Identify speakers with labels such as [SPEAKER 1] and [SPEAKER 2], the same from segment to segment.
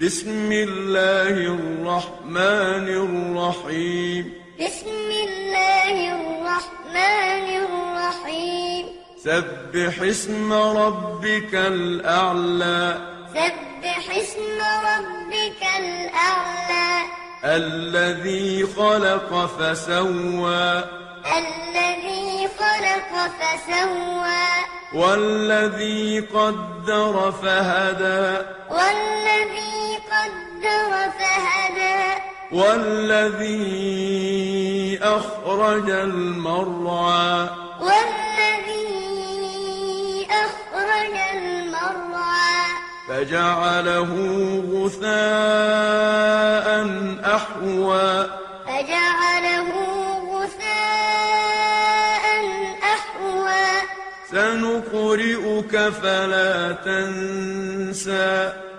[SPEAKER 1] بسم الله الرحمن الرحيم
[SPEAKER 2] بسم الله الرحمن الرحيم
[SPEAKER 1] سبح اسم ربك الأعلى
[SPEAKER 2] سبح اسم ربك الأعلى
[SPEAKER 1] الذي خلق فسوى
[SPEAKER 2] الذي خلق فسوى
[SPEAKER 1] والذي قدر فهدى
[SPEAKER 2] والذي قدر فهدى والذي أخرج المرعى والذي أخرج المرعى
[SPEAKER 1] فجعله غثاء أحوى
[SPEAKER 2] فجعله غثاء أحوى
[SPEAKER 1] سنقرئك فلا تنسى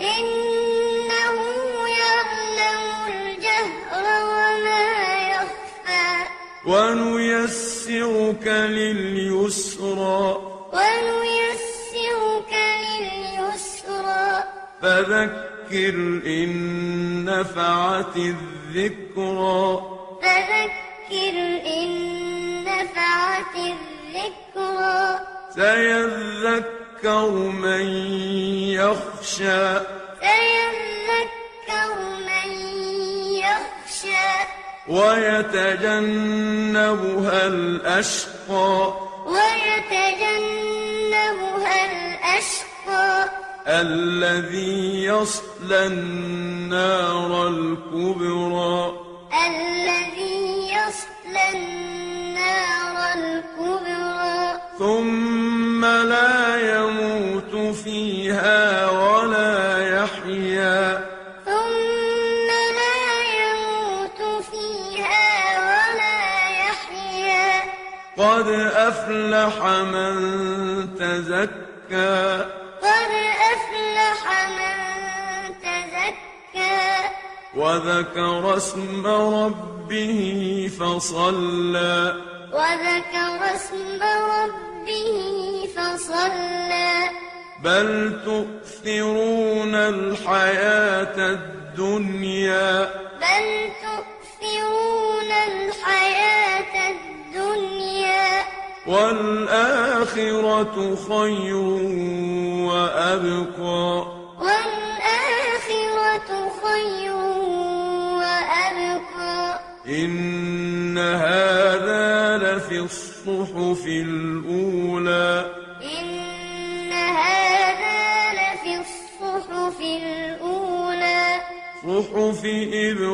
[SPEAKER 2] إنه يعلم الجهر وما يخفى
[SPEAKER 1] ونيسرك لليسرى
[SPEAKER 2] ونيسرك لليسرى
[SPEAKER 1] فذكر إن نفعت الذكرى
[SPEAKER 2] فذكر إن نفعت الذكرى
[SPEAKER 1] سيذكر من يخشى
[SPEAKER 2] سيذكر من يخشى
[SPEAKER 1] ويتجنبها الأشقى
[SPEAKER 2] ويتجنبها الأشقى
[SPEAKER 1] الذي يصلى النار الكبرى
[SPEAKER 2] الذي يصلى النار الكبرى
[SPEAKER 1] ثم لا يموت فيها ولا يحيا
[SPEAKER 2] ثم لا يموت فيها ولا يحيا
[SPEAKER 1] قد أفلح من تزكى
[SPEAKER 2] قد أفلح من تزكى
[SPEAKER 1] وذكر اسم ربه فصلى
[SPEAKER 2] وذكر اسم ربه فصلى
[SPEAKER 1] بل تؤثرون الحياة الدنيا
[SPEAKER 2] بل تؤثرون الحياة الدنيا
[SPEAKER 1] والآخرة خير وأبقى
[SPEAKER 2] والآخرة خير وأبقى
[SPEAKER 1] إن هذا لفي الصحف الأولى
[SPEAKER 2] إن هذا لفي الصحف الأولى
[SPEAKER 1] صحف إبراهيم